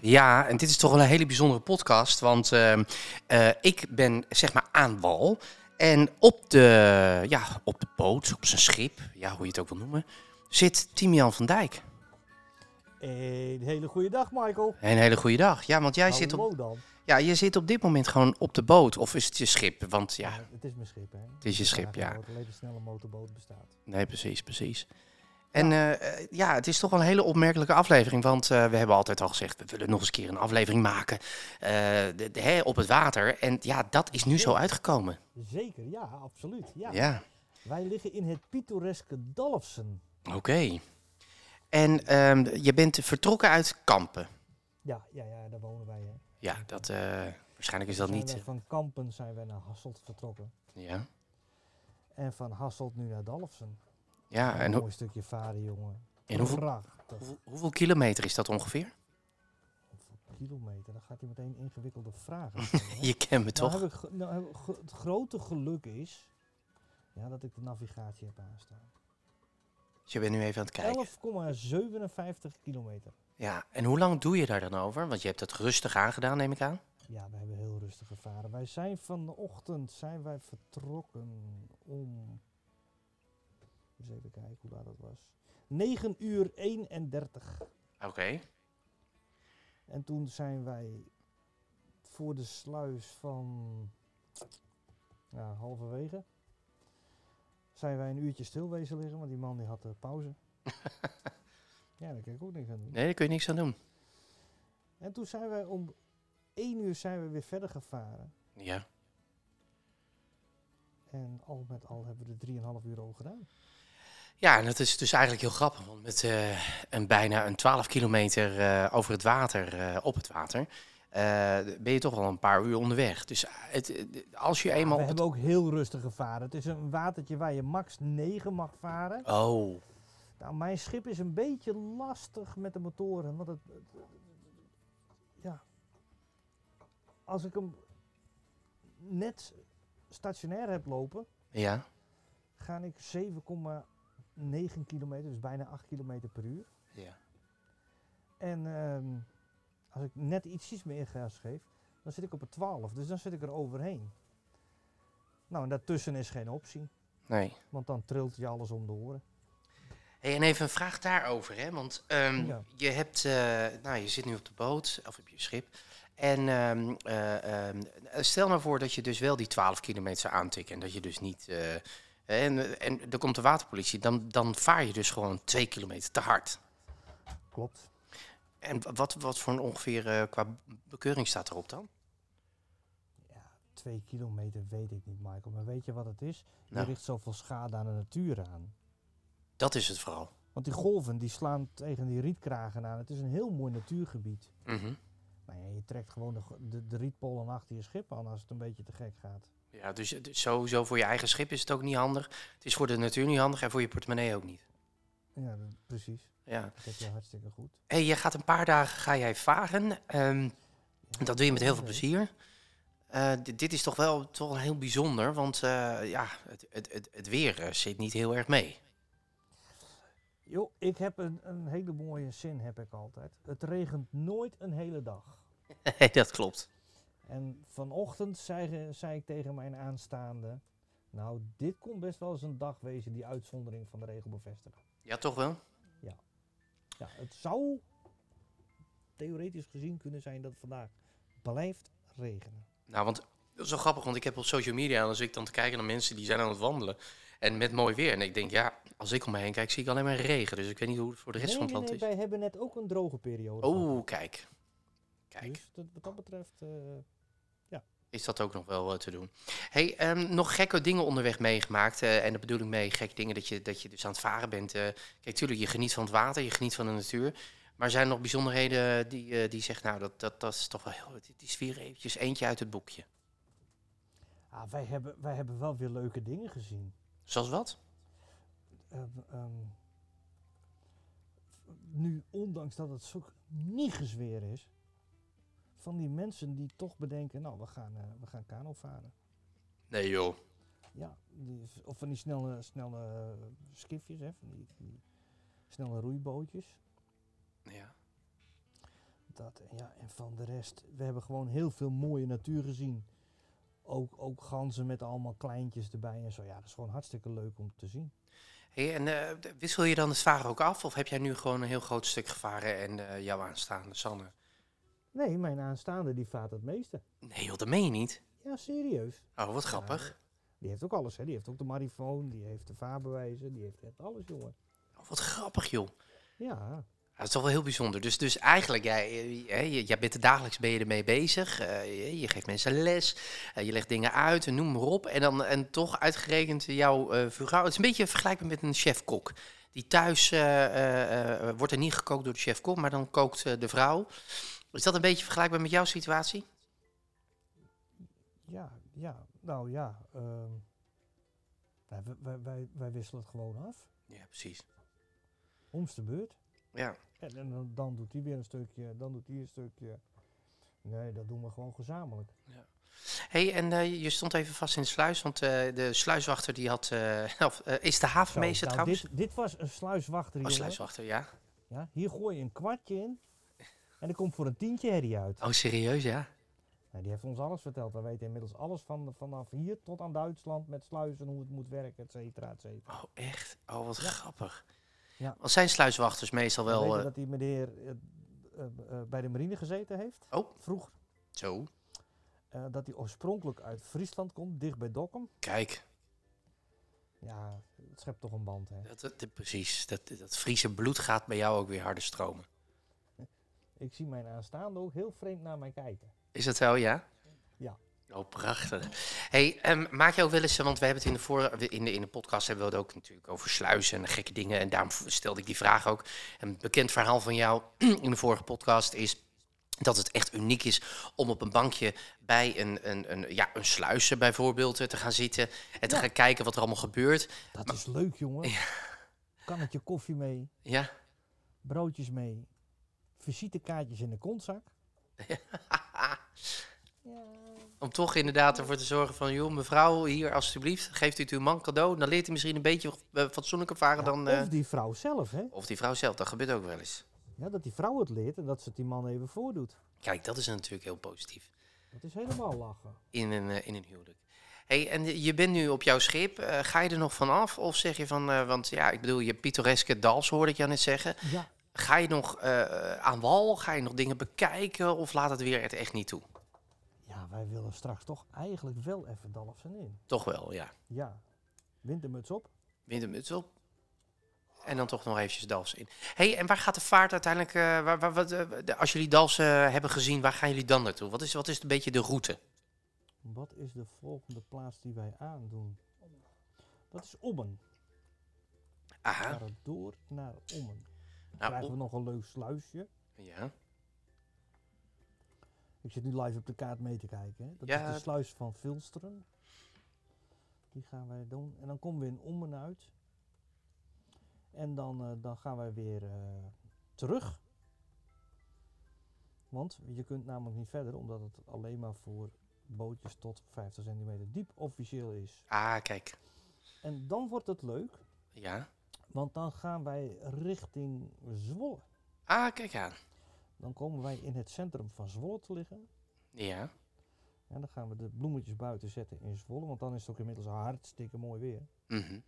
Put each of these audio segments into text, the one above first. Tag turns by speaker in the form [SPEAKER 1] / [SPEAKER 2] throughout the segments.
[SPEAKER 1] Ja, en dit is toch wel een hele bijzondere podcast, want eh, eh, ik ben zeg maar aan wal. En op de, ja, op de boot, op zijn schip, ja, hoe je het ook wil noemen, zit Timian van Dijk.
[SPEAKER 2] Een hele goede dag, Michael.
[SPEAKER 1] Een hele goede dag. Ja, want jij zit, op,
[SPEAKER 2] Hallo dan.
[SPEAKER 1] ja, je zit op dit moment gewoon op de boot, of is het je schip? Want ja,
[SPEAKER 2] Het is mijn schip, hè? Het
[SPEAKER 1] is je schip, ja.
[SPEAKER 2] Dat alleen een snelle motorboot bestaat.
[SPEAKER 1] Nee, precies, precies. En ja. ja, het is toch wel een hele opmerkelijke aflevering. Want eh, we hebben altijd al gezegd, we willen nog eens een keer een aflevering maken eh, de- de- hè, op het water. En ja, dat is nu zo uitgekomen.
[SPEAKER 2] Zeker, ja, absoluut. Ja.
[SPEAKER 1] Ja,
[SPEAKER 2] Wij liggen in het pittoreske Dalfsen.
[SPEAKER 1] oké. En ehm, je bent vertrokken uit Kampen.
[SPEAKER 2] Ja, ja, ja, daar wonen wij. Hè.
[SPEAKER 1] Ja, dat, eh, waarschijnlijk is dat
[SPEAKER 2] Zijn
[SPEAKER 1] niet... eh,
[SPEAKER 2] wij van Kampen zijn wij naar Hasselt vertrokken.
[SPEAKER 1] Ja,
[SPEAKER 2] En van Hasselt nu naar Dalfsen.
[SPEAKER 1] ja en,
[SPEAKER 2] een
[SPEAKER 1] hoe-
[SPEAKER 2] mooi stukje varen, jongen.
[SPEAKER 1] en hoeveel,
[SPEAKER 2] Prachtig.
[SPEAKER 1] hoeveel, hoeveel kilometer is dat ongeveer?
[SPEAKER 2] Hoeveel kilometer? Dan gaat hij meteen ingewikkelde vragen stellen.
[SPEAKER 1] Je kent me
[SPEAKER 2] Nou
[SPEAKER 1] toch?
[SPEAKER 2] heb ik ge- nou heb ik ge- het grote geluk is ja, dat ik de navigatie heb aanstaan.
[SPEAKER 1] Dus je bent nu even aan het kijken.
[SPEAKER 2] 11,57 kilometer.
[SPEAKER 1] Ja, en hoe lang doe je daar dan over? Want je hebt het rustig aangedaan, neem ik aan.
[SPEAKER 2] Ja, we hebben heel rustig gevaren. Wij zijn vanochtend zijn wij vertrokken om. Eens even kijken hoe laat dat was. 9 uur 31.
[SPEAKER 1] Oké.
[SPEAKER 2] En toen zijn wij voor de sluis van. Ja, halverwege. Zijn wij een uurtje stilwezen liggen, want die man die had eh, pauze. ja, daar kan ik ook niks aan doen.
[SPEAKER 1] Nee, daar kun je niks aan doen.
[SPEAKER 2] En toen zijn wij om 1 uur zijn we weer verder gevaren.
[SPEAKER 1] Ja.
[SPEAKER 2] En al met al hebben we er 3,5 uur over gedaan.
[SPEAKER 1] Ja, en dat is dus eigenlijk heel grappig, want met eh, een bijna een 12 kilometer eh, over het water, eh, op het water, eh, ben je toch wel een paar uur onderweg. Dus eh, het, het- als je
[SPEAKER 2] we
[SPEAKER 1] eenmaal... op het-
[SPEAKER 2] hebben ook heel rustig gevaren. Het is een watertje waar je max 9 mag varen.
[SPEAKER 1] Oh,
[SPEAKER 2] Nou, mijn schip is een beetje lastig met de motoren. Want het. het- het- ja. Als ik hem net stationair heb lopen,
[SPEAKER 1] ja,
[SPEAKER 2] ga ik 7,9 kilometer, dus bijna 8 kilometer per uur.
[SPEAKER 1] ja.
[SPEAKER 2] En ehm, als ik net ietsjes meer gas geef, dan zit ik op een 12. Dus dan zit ik er overheen. Nou, en daartussen is geen optie.
[SPEAKER 1] Nee.
[SPEAKER 2] Want dan trilt je alles om de oren.
[SPEAKER 1] Hey, en even een vraag daarover, hè? want ehm,
[SPEAKER 2] Ja.
[SPEAKER 1] je, hebt, eh, nou, je zit nu op de boot, of op je schip, en ehm, eh, ehm, stel nou voor dat je dus wel die 12 kilometer zou aantikken en dat je dus niet... eh, en, en er komt de waterpolitie, dan, dan vaar je dus gewoon 2 kilometer te hard.
[SPEAKER 2] Klopt.
[SPEAKER 1] En wa- wat, wat voor een ongeveer eh, qua bekeuring staat erop dan?
[SPEAKER 2] Ja, twee kilometer weet ik niet, Michael. Maar weet je wat het is? Je
[SPEAKER 1] Nou.
[SPEAKER 2] richt zoveel schade aan de natuur aan.
[SPEAKER 1] Dat is het vooral.
[SPEAKER 2] Want die golven die slaan tegen die rietkragen aan. Het is een heel mooi natuurgebied.
[SPEAKER 1] Mhm.
[SPEAKER 2] Nou ja, je trekt gewoon de, go- de, de rietpollen achter je schip aan als het een beetje te gek gaat.
[SPEAKER 1] Ja, dus, dus sowieso voor je eigen schip is het ook niet handig. Het is voor de natuur niet handig en voor je portemonnee ook niet.
[SPEAKER 2] Ja, dat- precies.
[SPEAKER 1] Ja.
[SPEAKER 2] Dat heb je hartstikke goed.
[SPEAKER 1] Hey, je gaat een paar dagen ga jij varen. Ehm,
[SPEAKER 2] Ja,
[SPEAKER 1] dat doe je met heel veel
[SPEAKER 2] oké.
[SPEAKER 1] plezier. Eh, di- dit is toch wel, toch wel heel bijzonder, want eh, ja, het, het, het, het weer eh, zit niet heel erg mee.
[SPEAKER 2] Jo, ik heb een, een hele mooie zin, heb ik altijd. Het regent nooit een hele dag.
[SPEAKER 1] Nee, dat klopt.
[SPEAKER 2] En vanochtend zei, ge- zei ik tegen mijn aanstaande... Nou, dit kon best wel eens een dag wezen die uitzondering van de regel bevestigen.
[SPEAKER 1] Ja, toch wel?
[SPEAKER 2] Ja, het zou theoretisch gezien kunnen zijn dat het vandaag blijft regenen.
[SPEAKER 1] Nou, want dat is wel grappig, want ik heb op social media, als ik dan te kijken naar mensen die zijn aan het wandelen en met mooi weer. En ik denk, ja, als ik om me heen kijk, zie ik alleen maar regen. Dus ik weet niet hoe het voor de rest
[SPEAKER 2] nee,
[SPEAKER 1] van het
[SPEAKER 2] nee,
[SPEAKER 1] land
[SPEAKER 2] nee, wij hebben net ook een droge periode.
[SPEAKER 1] is.
[SPEAKER 2] gehad.
[SPEAKER 1] Oh, kijk. Kijk,
[SPEAKER 2] Dus dat, wat dat betreft... eh,
[SPEAKER 1] is dat ook nog wel eh, te doen. hey, ehm, nog gekke dingen onderweg meegemaakt. eh, en dat bedoel ik mee, gek dingen dat je, dat je dus aan het varen bent. eh. kijk, tuurlijk, je geniet van het water, je geniet van de natuur. Maar zijn er nog bijzonderheden die, eh, die zegt, nou, dat, dat, dat is toch wel heel... Die is weer eventjes eentje uit het boekje.
[SPEAKER 2] Ah, wij, hebben, wij hebben wel weer leuke dingen gezien.
[SPEAKER 1] Zoals wat?
[SPEAKER 2] Ehm, ehm, nu, ondanks dat het zo niet weer is, van die mensen die toch bedenken, nou, we gaan, eh we gaan kano varen.
[SPEAKER 1] Nee, joh.
[SPEAKER 2] Ja, die, of van die snelle, snelle eh, skifjes, hè, van die, die snelle roeibootjes.
[SPEAKER 1] Ja.
[SPEAKER 2] Dat, en ja, en van de rest, we hebben gewoon heel veel mooie natuur gezien. Ook, ook ganzen met allemaal kleintjes erbij en zo. Ja, dat is gewoon hartstikke leuk om te zien.
[SPEAKER 1] Hey, en eh, d- wissel je dan het varen ook af? Of heb jij nu gewoon een heel groot stuk gevaren en eh, jouw aanstaande Sanne?
[SPEAKER 2] Nee, mijn aanstaande die vaart het meeste.
[SPEAKER 1] Nee, joh, dat meen je niet.
[SPEAKER 2] Ja, serieus.
[SPEAKER 1] Oh, wat grappig.
[SPEAKER 2] Die heeft ook alles, hè? Die heeft ook de marifoon, die heeft de vaarbewijzen, die heeft echt alles, jongen.
[SPEAKER 1] Oh, wat grappig, joh.
[SPEAKER 2] Ja,
[SPEAKER 1] Ja, dat is toch wel heel bijzonder. Dus, dus eigenlijk, jij, eh, hè, je- jij bent er dagelijks ben je ermee bezig. Eh, je, je geeft mensen les. eh, je legt dingen uit en noem maar op. En, dan, en toch uitgerekend jouw eh vrouw. Het is een beetje vergelijkbaar met een chef-kok. Die thuis eh, eh, eh, wordt er niet gekookt door de chef-kok, maar dan kookt eh, de vrouw. Is dat een beetje vergelijkbaar met jouw situatie?
[SPEAKER 2] ja, ja. Nou ja, ehm, wij, wij, wij, wij wisselen het gewoon af.
[SPEAKER 1] Ja, precies.
[SPEAKER 2] Om's de beurt.
[SPEAKER 1] Ja.
[SPEAKER 2] En, en dan, dan doet hij weer een stukje, dan doet hij een stukje. Nee, dat doen we gewoon gezamenlijk.
[SPEAKER 1] hey, en eh, je stond even vast in de sluis, want eh, de sluiswachter die had... eh, of, eh, is de
[SPEAKER 2] Zo,
[SPEAKER 1] havenmeester
[SPEAKER 2] nou,
[SPEAKER 1] trouwens?
[SPEAKER 2] dit, dit was een sluiswachter,
[SPEAKER 1] Oh,
[SPEAKER 2] jongen.
[SPEAKER 1] sluiswachter, ja.
[SPEAKER 2] Ja, hier gooi je een kwartje in en er komt voor een tientje herrie uit.
[SPEAKER 1] Oh, serieus, ja?
[SPEAKER 2] Nou, die heeft ons alles verteld. We weten inmiddels alles van, vanaf hier tot aan Duitsland met sluizen, hoe het moet werken, et cetera, et cetera.
[SPEAKER 1] Oh, echt? Oh, wat
[SPEAKER 2] Ja.
[SPEAKER 1] grappig.
[SPEAKER 2] Ja.
[SPEAKER 1] Want zijn sluiswachters meestal
[SPEAKER 2] We
[SPEAKER 1] wel...
[SPEAKER 2] weten
[SPEAKER 1] eh,
[SPEAKER 2] dat die meneer eh, eh, eh, bij de marine gezeten heeft.
[SPEAKER 1] Oh.
[SPEAKER 2] Vroeg.
[SPEAKER 1] Zo,
[SPEAKER 2] Eh, dat hij oorspronkelijk uit Friesland komt, dicht bij Dokkum.
[SPEAKER 1] kijk.
[SPEAKER 2] Ja, het schept toch een band, hè?
[SPEAKER 1] Dat, dat- dat- precies. Dat, dat Friese bloed gaat bij jou ook weer harder stromen.
[SPEAKER 2] Ik zie mijn aanstaande ook heel vreemd naar mij kijken.
[SPEAKER 1] Is dat zo, ja?
[SPEAKER 2] Ja.
[SPEAKER 1] Oh, prachtig. hey, ehm, maak je ook wel eens... eh, Want we hebben het in de, vorige, in de, in de podcast hebben we het ook natuurlijk over sluizen en gekke dingen. En daarom stelde ik die vraag ook. Een bekend verhaal van jou in de vorige podcast is... dat het echt uniek is om op een bankje bij een, een, een, ja, een sluizen bijvoorbeeld eh, te gaan zitten... en te
[SPEAKER 2] Ja.
[SPEAKER 1] gaan kijken wat er allemaal gebeurt.
[SPEAKER 2] Dat is leuk, jongen. Kannetje koffie mee,
[SPEAKER 1] Ja,
[SPEAKER 2] broodjes mee, visitekaartjes in de kontzak.
[SPEAKER 1] om toch inderdaad ervoor te zorgen van... joh, mevrouw, hier alstublieft, geeft u het uw man cadeau... dan leert hij misschien een beetje eh, fatsoenlijker varen
[SPEAKER 2] Ja,
[SPEAKER 1] dan... eh,
[SPEAKER 2] Of die vrouw zelf, hè?
[SPEAKER 1] of die vrouw zelf, dat gebeurt ook wel eens.
[SPEAKER 2] Ja, dat die vrouw het leert en dat ze het die man even voordoet.
[SPEAKER 1] Kijk, dat is natuurlijk heel positief
[SPEAKER 2] Dat is helemaal lachen.
[SPEAKER 1] in een, eh, in een huwelijk. hey, en je bent nu op jouw schip. eh, ga je er nog van af? Of zeg je van... eh, want ja, ik bedoel, je pittoreske dals hoorde ik jou net zeggen.
[SPEAKER 2] Ja,
[SPEAKER 1] Ga je nog eh, aan wal? Ga je nog dingen bekijken? Of laat het weer het echt niet toe?
[SPEAKER 2] ja, wij willen straks toch eigenlijk wel even Dalfsen in.
[SPEAKER 1] Toch wel, ja.
[SPEAKER 2] Ja, wintermuts op.
[SPEAKER 1] wintermuts op. En dan toch nog eventjes Dals in. hey, en waar gaat de vaart uiteindelijk... eh, waar, waar, wat, eh, de- als jullie Dals eh, hebben gezien, waar gaan jullie dan naartoe? Wat is, wat is een beetje de route?
[SPEAKER 2] Wat is de volgende plaats die wij aandoen? Dat is Ommen.
[SPEAKER 1] Aha.
[SPEAKER 2] Naar door naar Ommen.
[SPEAKER 1] Nou,
[SPEAKER 2] Krijgen we nog een leuk sluisje.
[SPEAKER 1] op- ja.
[SPEAKER 2] Ik zit nu live op de kaart mee te kijken. Hè. Dat
[SPEAKER 1] Ja.
[SPEAKER 2] is de sluis van Vilsteren. Die gaan wij doen. En dan komen we in Ommen uit. En dan, eh, dan gaan wij weer eh, terug. Want je kunt namelijk niet verder, omdat het alleen maar voor bootjes tot 50 centimeter diep officieel is.
[SPEAKER 1] Ah, kijk.
[SPEAKER 2] En dan wordt het leuk,
[SPEAKER 1] Ja.
[SPEAKER 2] want dan gaan wij richting Zwolle.
[SPEAKER 1] Ah, kijk aan.
[SPEAKER 2] Dan komen wij in het centrum van Zwolle te liggen.
[SPEAKER 1] Ja.
[SPEAKER 2] En dan gaan we de bloemetjes buiten zetten in Zwolle, want dan is het ook inmiddels hartstikke mooi weer.
[SPEAKER 1] Mhm.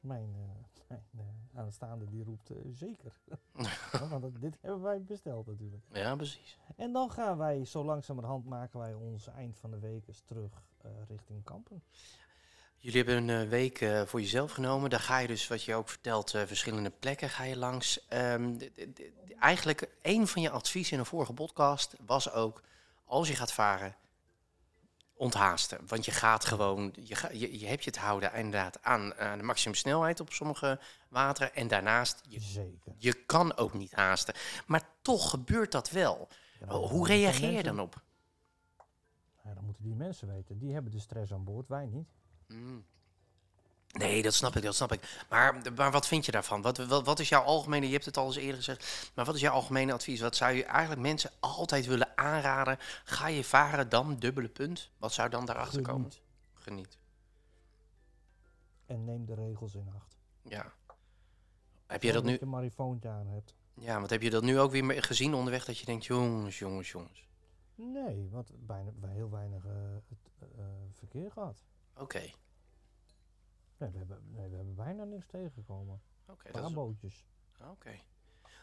[SPEAKER 2] Mijn, eh, mijn eh, aanstaande die roept eh, zeker. Ja, want dat- dit hebben wij besteld natuurlijk.
[SPEAKER 1] Ja, precies.
[SPEAKER 2] En dan gaan wij zo langzamerhand maken wij ons eind van de week eens terug eh, richting Kampen.
[SPEAKER 1] Jullie hebben een eh, week eh, voor jezelf genomen. Daar ga je dus, wat je ook vertelt, eh, verschillende plekken ga je langs. Ehm, d- d- d- eigenlijk, een van je adviezen in een vorige podcast was ook... als je gaat varen, onthaasten. Want je gaat gewoon, je, ga- je, je hebt je te houden inderdaad aan, aan de maximumsnelheid op sommige wateren. En daarnaast, je,
[SPEAKER 2] Zeker.
[SPEAKER 1] je kan ook niet haasten. Maar toch gebeurt dat wel.
[SPEAKER 2] Ja, dan
[SPEAKER 1] Oh, Hoe
[SPEAKER 2] moeten die
[SPEAKER 1] reageer je
[SPEAKER 2] mensen-
[SPEAKER 1] dan op?
[SPEAKER 2] Ja, dan moeten die mensen weten. Die hebben de stress aan boord, wij niet.
[SPEAKER 1] Mm. Nee, dat snap ik, dat snap ik. Maar, maar wat vind je daarvan? Wat, wat, wat is jouw algemene, je hebt het al eens eerder gezegd, maar wat is jouw algemene advies? Wat zou je eigenlijk mensen altijd willen aanraden? Ga je varen, dan dubbele punt. Wat zou dan daarachter komen?
[SPEAKER 2] Geniet
[SPEAKER 1] Geniet.
[SPEAKER 2] En neem de regels in acht.
[SPEAKER 1] Ja. Heb je dat nu,
[SPEAKER 2] Zorg je een marifoontje aan hebt.
[SPEAKER 1] ja, want heb je dat nu ook weer me- gezien onderweg dat je denkt, jongens, jongens, jongens.
[SPEAKER 2] Nee, want bijna, bij heel weinig eh, het, eh, verkeer gehad.
[SPEAKER 1] Oké,
[SPEAKER 2] Nee we, hebben, nee, we hebben bijna niks tegengekomen.
[SPEAKER 1] oké.
[SPEAKER 2] Een
[SPEAKER 1] dat
[SPEAKER 2] paar
[SPEAKER 1] is-
[SPEAKER 2] bootjes.
[SPEAKER 1] Oké.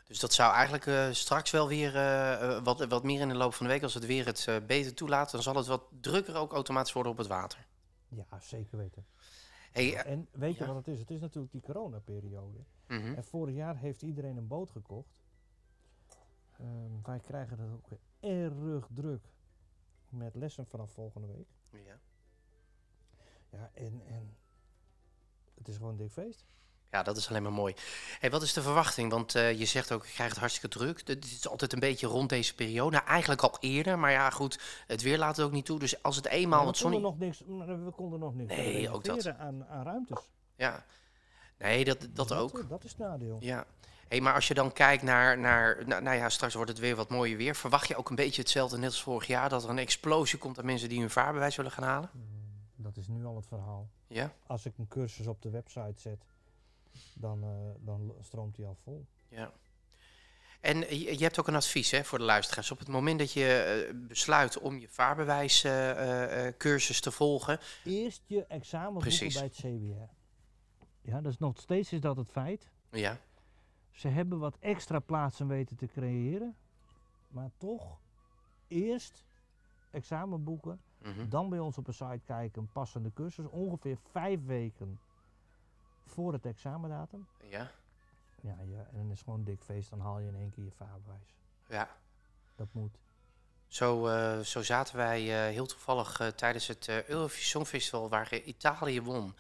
[SPEAKER 1] Dus dat zou eigenlijk eh, straks wel weer eh, eh, wat, wat meer in de loop van de week, als het weer het eh, beter toelaat, dan zal het wat drukker ook automatisch worden op het water.
[SPEAKER 2] Ja, zeker weten.
[SPEAKER 1] Hey, eh,
[SPEAKER 2] En weet je
[SPEAKER 1] ja.
[SPEAKER 2] wat het is? Het is natuurlijk die coronaperiode.
[SPEAKER 1] mhm.
[SPEAKER 2] En vorig jaar heeft iedereen een boot gekocht. Ehm, wij krijgen dat ook erg druk met lessen vanaf volgende week.
[SPEAKER 1] ja.
[SPEAKER 2] Ja, en, en het is gewoon een dik feest.
[SPEAKER 1] ja, dat is alleen maar mooi. Hey, wat is de verwachting? Want eh, je zegt ook, je krijgt het hartstikke druk. Dit is altijd een beetje rond deze periode. Nou, eigenlijk al eerder, maar ja, goed, het weer laat het ook niet toe. Dus als het eenmaal
[SPEAKER 2] we,
[SPEAKER 1] wat
[SPEAKER 2] konden
[SPEAKER 1] zonnig...
[SPEAKER 2] nog niks, maar we konden nog niks
[SPEAKER 1] Nee, ook dat.
[SPEAKER 2] reserveren Aan, aan ruimtes.
[SPEAKER 1] Ja. Nee, dat, dat
[SPEAKER 2] Dus
[SPEAKER 1] ook.
[SPEAKER 2] Dat is het nadeel.
[SPEAKER 1] Ja. Hey, maar als je dan kijkt naar, naar nou, nou ja, straks wordt het weer wat mooier weer. Verwacht je ook een beetje hetzelfde net als vorig jaar, dat er een explosie komt aan mensen die hun vaarbewijs willen gaan halen?
[SPEAKER 2] Mm, Dat is nu al het verhaal.
[SPEAKER 1] Ja,
[SPEAKER 2] Als ik een cursus op de website zet, dan, eh, dan lo- stroomt die al vol.
[SPEAKER 1] ja. En je, je hebt ook een advies hè, voor de luisteraars. Op het moment dat je eh, besluit om je vaarbewijscursus eh, cursus te volgen.
[SPEAKER 2] Eerst je examen boeken
[SPEAKER 1] Precies.
[SPEAKER 2] bij het CBR. Ja, dus nog steeds is dat het feit.
[SPEAKER 1] Ja,
[SPEAKER 2] Ze hebben wat extra plaatsen weten te creëren. Maar toch, eerst examen boeken.
[SPEAKER 1] mhm,
[SPEAKER 2] Dan bij ons op een site kijken, een passende cursus. Ongeveer vijf weken voor het examendatum.
[SPEAKER 1] ja,
[SPEAKER 2] Ja, ja en dan is gewoon een dik feest. Dan haal je in één keer je vaarbewijs.
[SPEAKER 1] ja.
[SPEAKER 2] Dat moet.
[SPEAKER 1] Zo, eh, zo zaten wij eh, heel toevallig eh, tijdens het eh Eurovisie Songfestival waar eh, Italië won.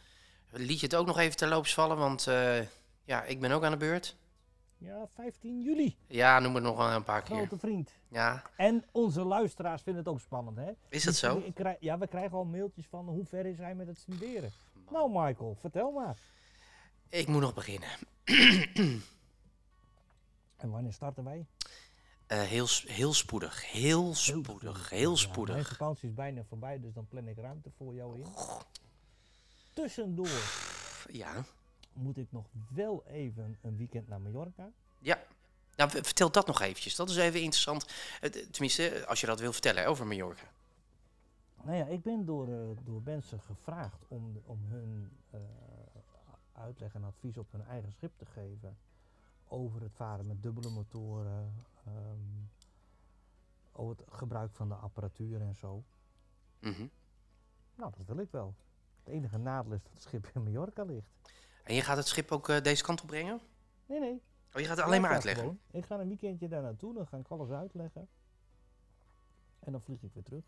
[SPEAKER 1] Liet je het ook nog even terloops vallen, want eh, ja, ik ben ook aan de beurt.
[SPEAKER 2] Ja, 15 juli.
[SPEAKER 1] Ja, noem het nog wel een paar keer.
[SPEAKER 2] Grote vriend.
[SPEAKER 1] Ja,
[SPEAKER 2] En onze luisteraars vinden het ook spannend, hè?
[SPEAKER 1] is dat zo?
[SPEAKER 2] Ik krijg- ja, we krijgen al mailtjes van hoe ver is hij met het studeren. Nou, Michael, vertel maar.
[SPEAKER 1] Ik moet nog beginnen.
[SPEAKER 2] En wanneer starten wij?
[SPEAKER 1] Eh, heel, s- heel spoedig, heel spoedig, heel
[SPEAKER 2] Ja, mijn
[SPEAKER 1] spoedig. Oh.
[SPEAKER 2] vakantie is bijna voorbij, dus dan plan ik ruimte voor jou in. Tussendoor
[SPEAKER 1] Ja.
[SPEAKER 2] moet ik nog wel even een weekend naar Mallorca.
[SPEAKER 1] ja. Nou, v- vertel dat nog eventjes. Dat is even interessant. Eh, d- Tenminste, als je dat wil vertellen hè, over Mallorca.
[SPEAKER 2] Nou ja, ik ben door, eh, door mensen gevraagd om, om hun eh, uitleg en advies op hun eigen schip te geven. Over het varen met dubbele motoren, ehm, over het gebruik van de apparatuur en zo.
[SPEAKER 1] Mhm.
[SPEAKER 2] Nou, dat wil ik wel. Het enige nadeel is dat het schip in Mallorca ligt.
[SPEAKER 1] En je gaat het schip ook eh, deze kant op brengen?
[SPEAKER 2] Nee, nee.
[SPEAKER 1] Oh, je gaat het alleen maar
[SPEAKER 2] Luister
[SPEAKER 1] uitleggen?
[SPEAKER 2] gewoon. Ik ga een weekendje daar naartoe, dan ga ik alles uitleggen. En dan vlieg ik weer terug.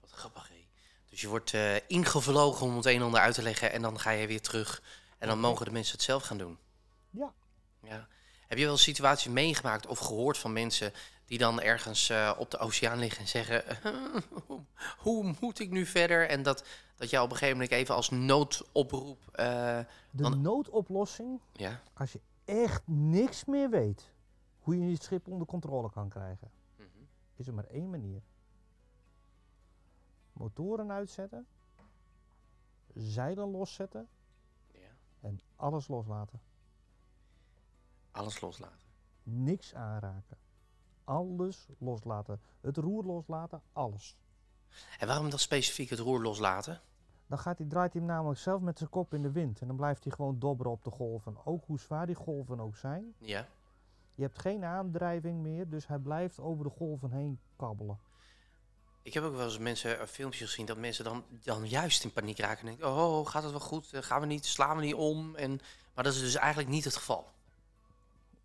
[SPEAKER 1] Wat grappig, hé. Dus je wordt eh, ingevlogen om het een en ander uit te leggen en dan ga je weer terug. En dan mogen de mensen het zelf gaan doen.
[SPEAKER 2] Ja.
[SPEAKER 1] ja. Heb je wel situaties meegemaakt of gehoord van mensen die dan ergens eh, op de oceaan liggen en zeggen... hoe, hoe moet ik nu verder? En dat, dat jij op een gegeven moment even als noodoproep... eh,
[SPEAKER 2] De
[SPEAKER 1] Dan-
[SPEAKER 2] noodoplossing,
[SPEAKER 1] ja,
[SPEAKER 2] als je echt niks meer weet hoe je je schip onder controle kan krijgen,
[SPEAKER 1] Mhm.
[SPEAKER 2] is er maar één manier. Motoren uitzetten, zeilen loszetten
[SPEAKER 1] ja,
[SPEAKER 2] en alles loslaten.
[SPEAKER 1] alles loslaten.
[SPEAKER 2] Niks aanraken. Alles loslaten. Het roer loslaten, alles.
[SPEAKER 1] En waarom dan specifiek het roer loslaten?
[SPEAKER 2] Dan gaat hij, draait hij hem namelijk zelf met zijn kop in de wind. En dan blijft hij gewoon dobberen op de golven. Ook hoe zwaar die golven ook zijn.
[SPEAKER 1] Ja.
[SPEAKER 2] Je hebt geen aandrijving meer, dus hij blijft over de golven heen kabbelen.
[SPEAKER 1] Ik heb ook wel eens mensen eh, filmpjes gezien dat mensen dan, dan juist in paniek raken en denken: oh, gaat het wel goed? Eh, Gaan we niet? Slaan we niet om? En, maar dat is dus eigenlijk niet het geval.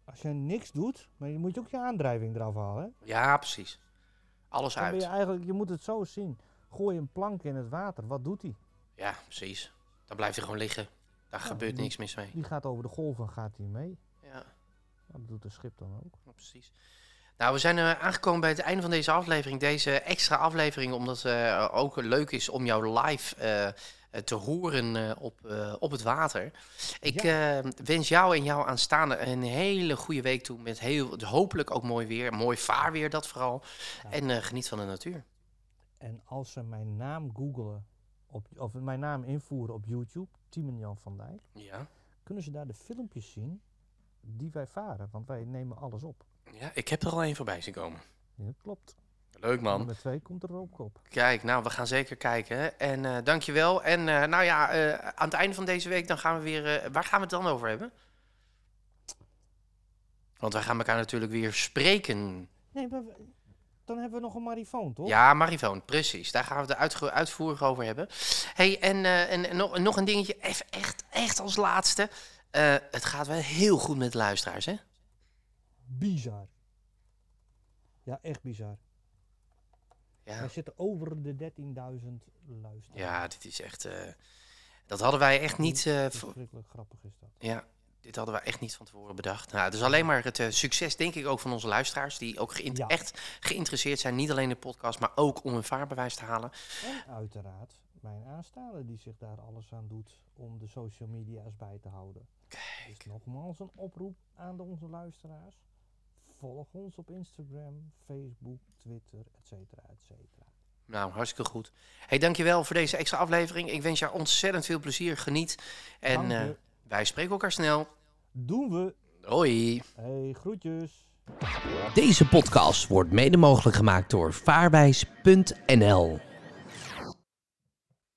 [SPEAKER 2] Als je niks doet, maar je moet je ook je aandrijving eraf halen. Hè?
[SPEAKER 1] Ja, precies. Alles
[SPEAKER 2] Dan ben je
[SPEAKER 1] uit.
[SPEAKER 2] eigenlijk, je moet het zo zien. Gooi een plank in het water, wat doet hij?
[SPEAKER 1] Ja, precies. Dan blijft hij gewoon liggen. Daar
[SPEAKER 2] Ja,
[SPEAKER 1] gebeurt
[SPEAKER 2] die-
[SPEAKER 1] niks mis mee.
[SPEAKER 2] Die gaat over de golven, gaat hij mee.
[SPEAKER 1] Ja.
[SPEAKER 2] Nou, dat doet een schip dan ook.
[SPEAKER 1] Ja, precies. Nou, we zijn eh, aangekomen bij het einde van deze aflevering. Deze extra aflevering, omdat het ook leuk is om jou live eh, eh, te horen eh, op, eh, op het water. Ik eh, wens jou en jouw aanstaande een hele goede week toe. Met heel, hopelijk ook mooi weer. Mooi vaarweer, dat vooral.
[SPEAKER 2] Ja.
[SPEAKER 1] En eh, geniet van de natuur.
[SPEAKER 2] En als ze mijn naam googelen, op, of mijn naam invoeren op YouTube, Timen Jan van Dijk,
[SPEAKER 1] Ja.
[SPEAKER 2] kunnen ze daar de filmpjes zien die wij varen. Want wij nemen alles op.
[SPEAKER 1] ja, ik heb er al één voorbij zien komen.
[SPEAKER 2] Ja, dat klopt.
[SPEAKER 1] Leuk, man.
[SPEAKER 2] Nummer twee komt er ook op.
[SPEAKER 1] Kijk, nou, we gaan zeker kijken. hè. En eh dankjewel. En eh, nou ja, eh, aan het einde van deze week dan gaan we weer... eh, waar gaan we het dan over hebben? Want wij gaan elkaar natuurlijk weer spreken.
[SPEAKER 2] Nee, maar we- dan hebben we nog een marifoon, toch?
[SPEAKER 1] Ja, Marivoon, precies. Daar gaan we het uitge- uitvoerig over hebben. hey, en, eh, en, en nog, nog een dingetje. Even echt, echt als laatste. Eh, het gaat wel heel goed met de luisteraars, hè?
[SPEAKER 2] Bizar. Ja, echt bizar.
[SPEAKER 1] Ja.
[SPEAKER 2] Wij zitten over de 13.000 luisteraars.
[SPEAKER 1] Ja, dit is echt... eh, dat hadden wij echt niet... eh,
[SPEAKER 2] Dat is
[SPEAKER 1] vo-
[SPEAKER 2] Verschrikkelijk grappig is dat.
[SPEAKER 1] Ja, dit hadden we echt niet van tevoren bedacht. Nou, het is alleen maar het eh, succes, denk ik, ook van onze luisteraars. Die ook geïn-
[SPEAKER 2] Ja.
[SPEAKER 1] echt geïnteresseerd zijn. Niet alleen in de podcast, maar ook om een vaarbewijs te halen.
[SPEAKER 2] En uiteraard mijn aanstaande die zich daar alles aan doet om de social media's bij te houden. Dus
[SPEAKER 1] Kijk.
[SPEAKER 2] nogmaals een oproep aan de- onze luisteraars. Volg ons op Instagram, Facebook, Twitter, et cetera, et cetera.
[SPEAKER 1] Nou, hartstikke goed. hey, dankjewel voor deze extra aflevering. Ik wens jou ontzettend veel plezier. Geniet. En
[SPEAKER 2] Dank je.
[SPEAKER 1] eh, wij spreken elkaar snel.
[SPEAKER 2] Doen we.
[SPEAKER 1] Hoi.
[SPEAKER 2] Hey, groetjes.
[SPEAKER 1] Deze podcast wordt mede mogelijk gemaakt door vaarwijs.nl.